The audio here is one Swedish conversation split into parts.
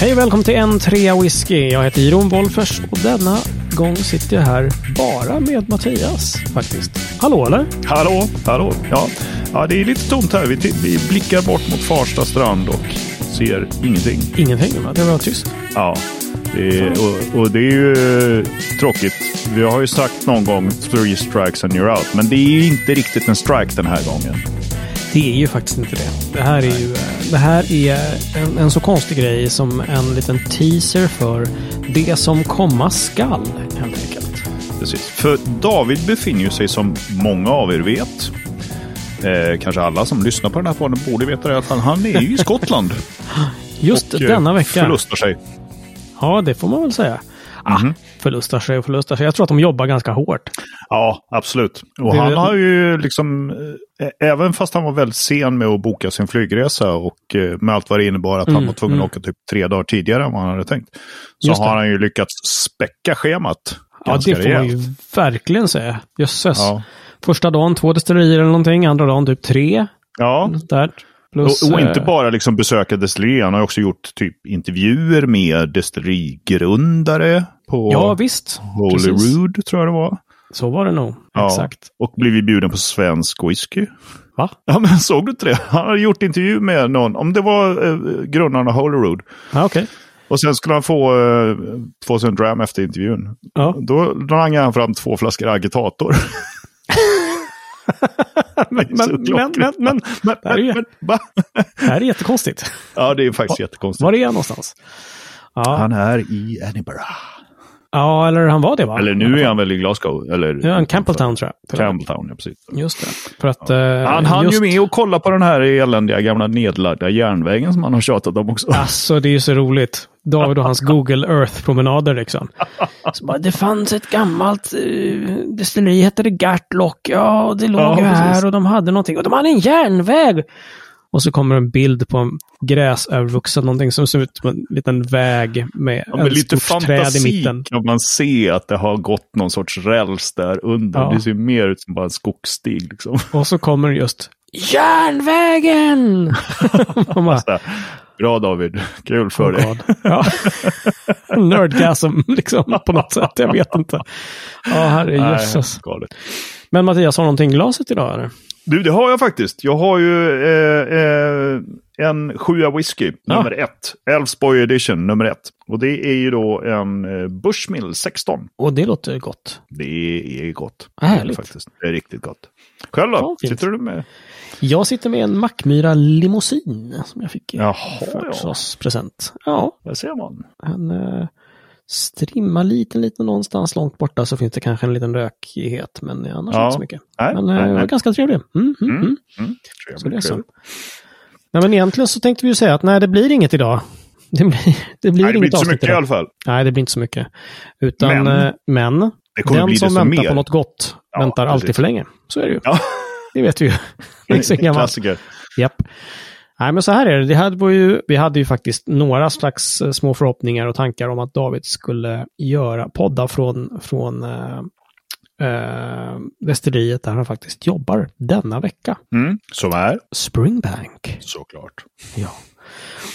Hej och välkommen till en trea whisky. Jag heter Jiron Wolffers och denna gång sitter jag här bara med Mattias faktiskt. Hallå eller? Hallå, hallå. Ja. ja, det är lite tomt här. Vi, t- vi blickar bort mot Farsta strand och ser ingenting. Ingenting va? Det var tyst. Ja, det Mm. är, och, och det är ju eh, tråkigt. Vi har ju sagt någon gång three strikes and you're out, men det är ju inte riktigt en strike den här gången. Det är ju faktiskt inte det. Det här är ju eh, det här är en, en så konstig grej som en liten teaser för det som komma skall helt enkelt. Precis. För David befinner ju sig som många av er vet, eh, kanske alla som lyssnar på den här podden borde veta det, att han, han är ju i Skottland. Just och, eh, denna vecka. Förlustar sig. Mhm. Ja, det får man väl säga. Ah, Förlustar sig och förlustar sig. Jag tror att de jobbar ganska hårt. Ja, absolut. Och Det- han har ju liksom, eh, även fast han var väldigt sen med att boka sin flygresa och eh, med allt vad det innebar att han var tvungen att åka typ tre dagar tidigare än vad han hade tänkt. Så Mm, Just det. har han ju lyckats späcka schemat. Ja, ganska det får man rejält. ju verkligen säga. Jösses. Ja. Första dagen två destillerier eller någonting, andra dagen typ tre. Ja, Något Där. Plus, och, och inte eh, bara liksom besöka destillerier. Han har ju också gjort typ intervjuer med destillerigrundare på Ja, visst. Precis. Holyrood, tror jag det var. Så var det nog. Ja, Exakt. Och blivit bjuden på svensk whisky. Va? Ja, men såg du inte det? Han hade gjort intervju med någon, om det var eh, grundarna av Holyrood. Ja, okej. Och sen skulle han få, eh, få sig en dram efter intervjun. Ja. Då rangade han fram två flaskor agitator. men, men- men- men- men, det här är ju- va? Det här är jättekonstigt. Ja, det är faktiskt jättekonstigt. Var är jag någonstans? Ja. Han är i Edinburgh. ja, eller han var det va? Eller nu är han väl i Glasgow. Eller Ja, en Campbelltown tror jag. Campbelltown, ja, precis. Just det. För att... eh, Han hann just... ju med och kolla på den här eländiga gamla nedlagda järnvägen som han har tjatat om också. Alltså det är ju så roligt. David och hans Google Earth-promenader liksom. Så bara, det fanns ett gammalt uh, destilleri, hette det Gartlock? Ja, och det låg Ja, ju precis. här och de hade någonting. Och de hade en järnväg! Och så kommer en bild på en gräsövervuxen, någonting som ser ut som en liten väg med Ja, en med lite stort träd i fantasi mitten. kan man se att det har gått någon sorts räls där under. Ja. Det ser mer ut som bara en skogsstig. Liksom. Och så kommer just Järnvägen! Man bara, Så här, Bra David, kul för Oh dig. God. Ja. Nerdgasm liksom på något sätt. Jag vet inte. Ja, Nej, herrejösses. galet. Men Mattias, har du någonting i glaset idag? Eller? Du, det har jag faktiskt. Jag har ju eh, eh, en sjua whisky, Ja. nummer ett. Elfsborg edition, nummer ett. Och det är ju då en eh, Bushmill 16. Och det låter gott. Det är gott. Härligt. Faktiskt. Det är riktigt gott. Själv då? Ja, fint. Sitter du med? Jag sitter med en Mackmyra limousin som jag fick eh, Jaha, ja. födelsedagspresent. Ja, Där ser man. en eh, strimma liten, liten någonstans långt borta så finns det kanske en liten rökighet, men annars Ja. inte så mycket. Nej, Men eh, nej, det var nej. ganska trevlig. Mm, mm, mm. Mm, Så det är trevligt, så. trevligt. Nej, men egentligen så tänkte vi ju säga att nej, det blir inget idag. Det blir, det blir Nej, det inget blir inte så avsnitt mycket i idag. alla fall. Nej, det blir inte så mycket. Utan, Men- men, men Det kommer den bli som det som väntar mer. på något gott Ja, väntar alltid precis. för länge. Så är det ju. Ja. Det vet vi ju. Det är så gammalt. Klassiker. Japp. Nej, men så här är det. det hade vi, ju, vi hade ju faktiskt några slags eh, små förhoppningar och tankar om att David skulle göra podda från, från äh, destilleriet där han faktiskt jobbar denna vecka. Mm. Som är, Springbank. såklart. Ja.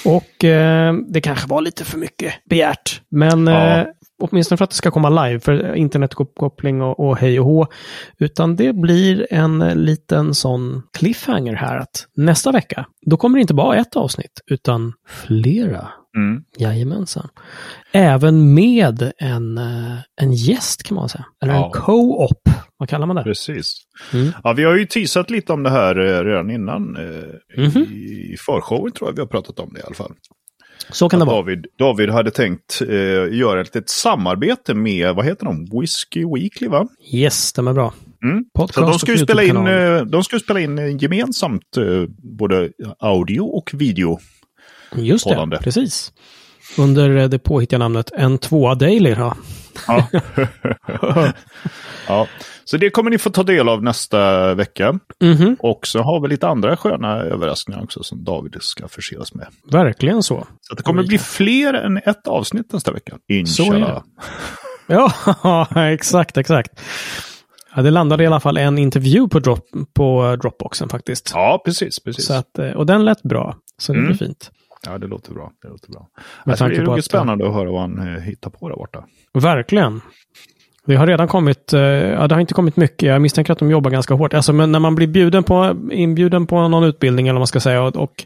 Och eh, det kanske var lite för mycket begärt. Men Ja. eh, åtminstone för att det ska komma live, för internetuppkoppling och, och hej och hå. Utan det blir en eh, liten sån cliffhanger här att nästa vecka, då kommer det inte bara ett avsnitt, utan flera. Mm. Jajamensan. Även med en, eh, en gäst kan man säga. Eller Ja. en co-op. Vad kallar man det? Precis. Mm. Ja, vi har ju teasat lite om det här eh, redan innan. eh, Mhm. I förshowen tror jag vi har pratat om det i alla fall. Så kan det Att vara. David, David hade tänkt eh, göra ett litet samarbete med, vad heter de, Whiskey Weekly va? Yes, stämmer bra. Mm. Podcast Så de och ska, ju spela in, YouTube-kanal. eh, de ska ju spela in eh, gemensamt eh, både audio och video. Just poddande. det, precis. Under eh, det påhittiga namnet En tvåa daily. Ja. Ja. ja. Så det kommer ni få ta del av nästa vecka. Mhm, Och så har vi lite andra sköna överraskningar också som David ska förse oss med. verkligen så. Så att det kommer bli fler än ett avsnitt nästa vecka. Så är det. Inshallah. Ja, exakt, exakt. Ja, det landade i alla fall en intervju på, drop, på Dropboxen faktiskt. Ja, precis. precis. så att, eh, och den lät bra, så det Mm. blir fint. Ja, det låter bra. Det låter bra. Med Alltså, det tanke är på ruggigt att- spännande att höra vad han eh, hittar på där borta. Verkligen. Det har redan kommit, eh, ja det har inte kommit mycket, jag misstänker att de jobbar ganska hårt. Alltså, men när man blir bjuden på, inbjuden på någon utbildning eller vad man ska säga och, och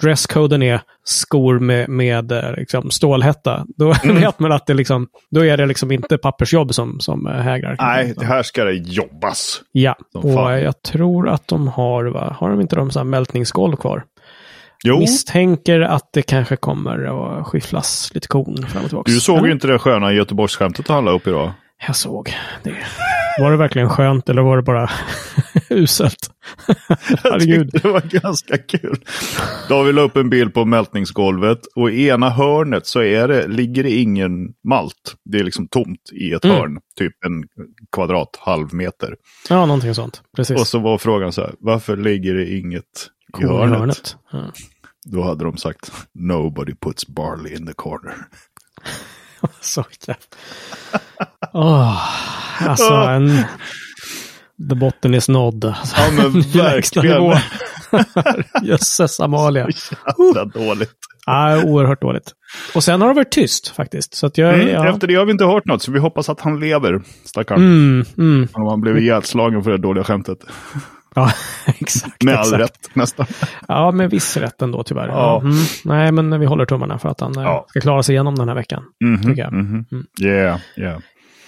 dresscoden är skor med, med eh, liksom, stålhätta, då Mm. vet man att det liksom, då är det liksom inte pappersjobb som, som eh, hägrar. Nej, det här ska det jobbas. Ja, Som och fan. eh, jag tror att de har, va? har de inte de så här mältningsskål kvar? Jo, Misstänker att det kanske kommer att skyfflas lite korn fram och tillbaka. du såg Men- ju inte det sköna Göteborgsskämtet han la upp idag. Jag såg det. Var det verkligen skönt eller var det bara uselt? Jag Herregud. tyckte det var ganska kul. David la upp en bild på mältningsgolvet och i ena hörnet så är det, ligger det ingen malt. Det är liksom tomt i ett Mm. hörn, typ en kvadrat, halv meter. Ja, någonting sånt. Och Precis. så var frågan så här, varför ligger det inget i Korn i hörnet? Ja. Då hade de sagt, nobody puts barley in the corner. Så jävla... Åh, alltså, en... the botten is nådd. Alltså, Ja men lägsta nivå. verkligen, Jösses Amalia. jävla dåligt. Ja, oerhört dåligt. Och sen har det varit tyst faktiskt. Så att jag... Mm, ja. Efter det har vi inte hört något, så vi hoppas att han lever, stackarn. Mm, mm. Han har blivit ihjälslagen för det dåliga skämtet. Ja, exakt. Med exakt. all rätt nästan. Ja, med viss rätt ändå tyvärr. Ja. Mhm. Nej, men vi håller tummarna för att han eh, Ja. ska klara sig igenom den här veckan. Mhm, Tycker jag. mhm. Mm. Yeah, yeah.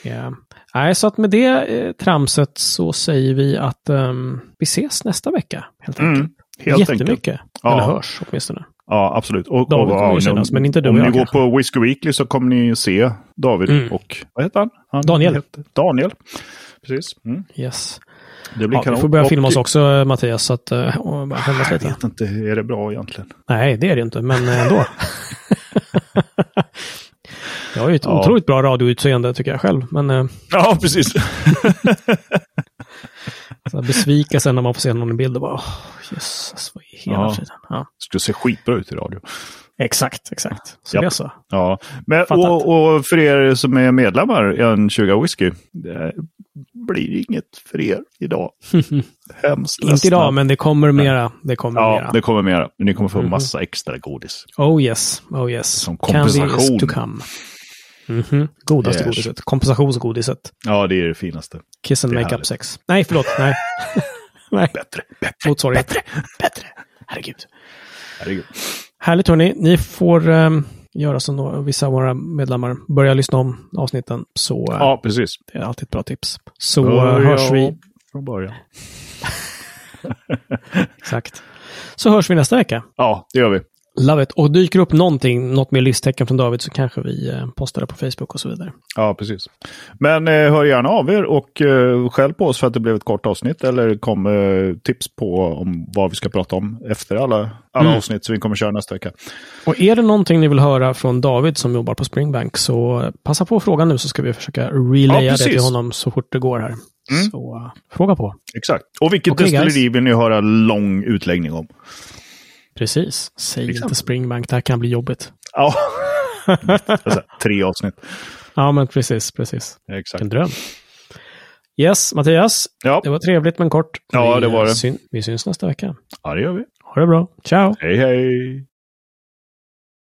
Ja. Nej, så att med det eh, tramset så säger vi att ehm, vi ses nästa vecka. Helt enkelt. Mm, helt enkelt. Jättemycket. Ja. Eller hörs åtminstone. Ja, absolut. Och, David kommer ju ja, synas, om- men inte du Om och ni jag går kanske. på Whiskey Weekly så kommer ni se David Mm. och, vad heter han? han Daniel. heter- Daniel. Precis. Mm. Yes. Det blir Ja, vi kanon. får börja Och- filma oss också, eh, Mattias, så att eh, och bara skämmas Jag lite. vet inte, är det bra egentligen? Nej, det är det ju inte, men eh, ändå. jag har ju ett Ja. otroligt bra radioutseende tycker jag själv, men eh, Ja, precis. så här besvikelsen när man får se någon i bild och bara, oh, jösses, vad i hela Ja. friden. Ja. Skulle se skitbra ut i radio. Exakt, exakt. Så Japp. det är så. Ja, men, Fattat. och, och för er som är medlemmar i en 20 whisky, det blir inget för er idag. Hemskt Inte ledsna. idag, men det kommer mera. Det kommer Ja, mera. det kommer mera. Ni kommer få Mhm. massa extra godis. Oh yes, oh yes. Som Candy kompensation. is to come. Mhm. Godaste Yes. godiset. Kompensationsgodiset. Ja, det är det finaste. Kiss and Det är makeup härligt. sex. Nej, förlåt. Nej. nej. Bättre, bättre. Motsvarighet. Bättre. Bättre. Herregud. Herregud. Härligt hörni. Ni får ehm, göra som då vissa av våra medlemmar. Börja lyssna om avsnitten så eh, Ja, precis. det är alltid ett bra tips. Så eh, Börja hörs vi. om Från början. Exakt. Så hörs vi nästa vecka. Ja, det gör vi. Love it. Och dyker upp någonting, något mer livstecken från David så kanske vi eh, postar det på Facebook och så vidare. Ja, precis. Men eh, hör gärna av er och eh, skäll på oss för att det blev ett kort avsnitt eller kom eh, tips på om vad vi ska prata om efter alla, alla Mm. avsnitt som vi kommer köra nästa vecka. Och är det någonting ni vill höra från David som jobbar på Springbank så eh, passa på att fråga nu så ska vi försöka relaya Ja, det precis. Mm. till honom så fort det går här. Så eh, fråga på. Exakt. Och vilket Okej, destilleri guys. vill ni höra lång utläggning om? Precis. Säg Exakt. inte Springbank, det här kan bli jobbigt. Ja. alltså, tre avsnitt. Ja, men precis, precis. Exakt. En dröm. Yes, Mattias. Ja. Det var trevligt men kort. Ja, vi, det var det. Syn- vi syns nästa vecka. ja, det gör vi. Ha det bra. Ciao. Hej, hej.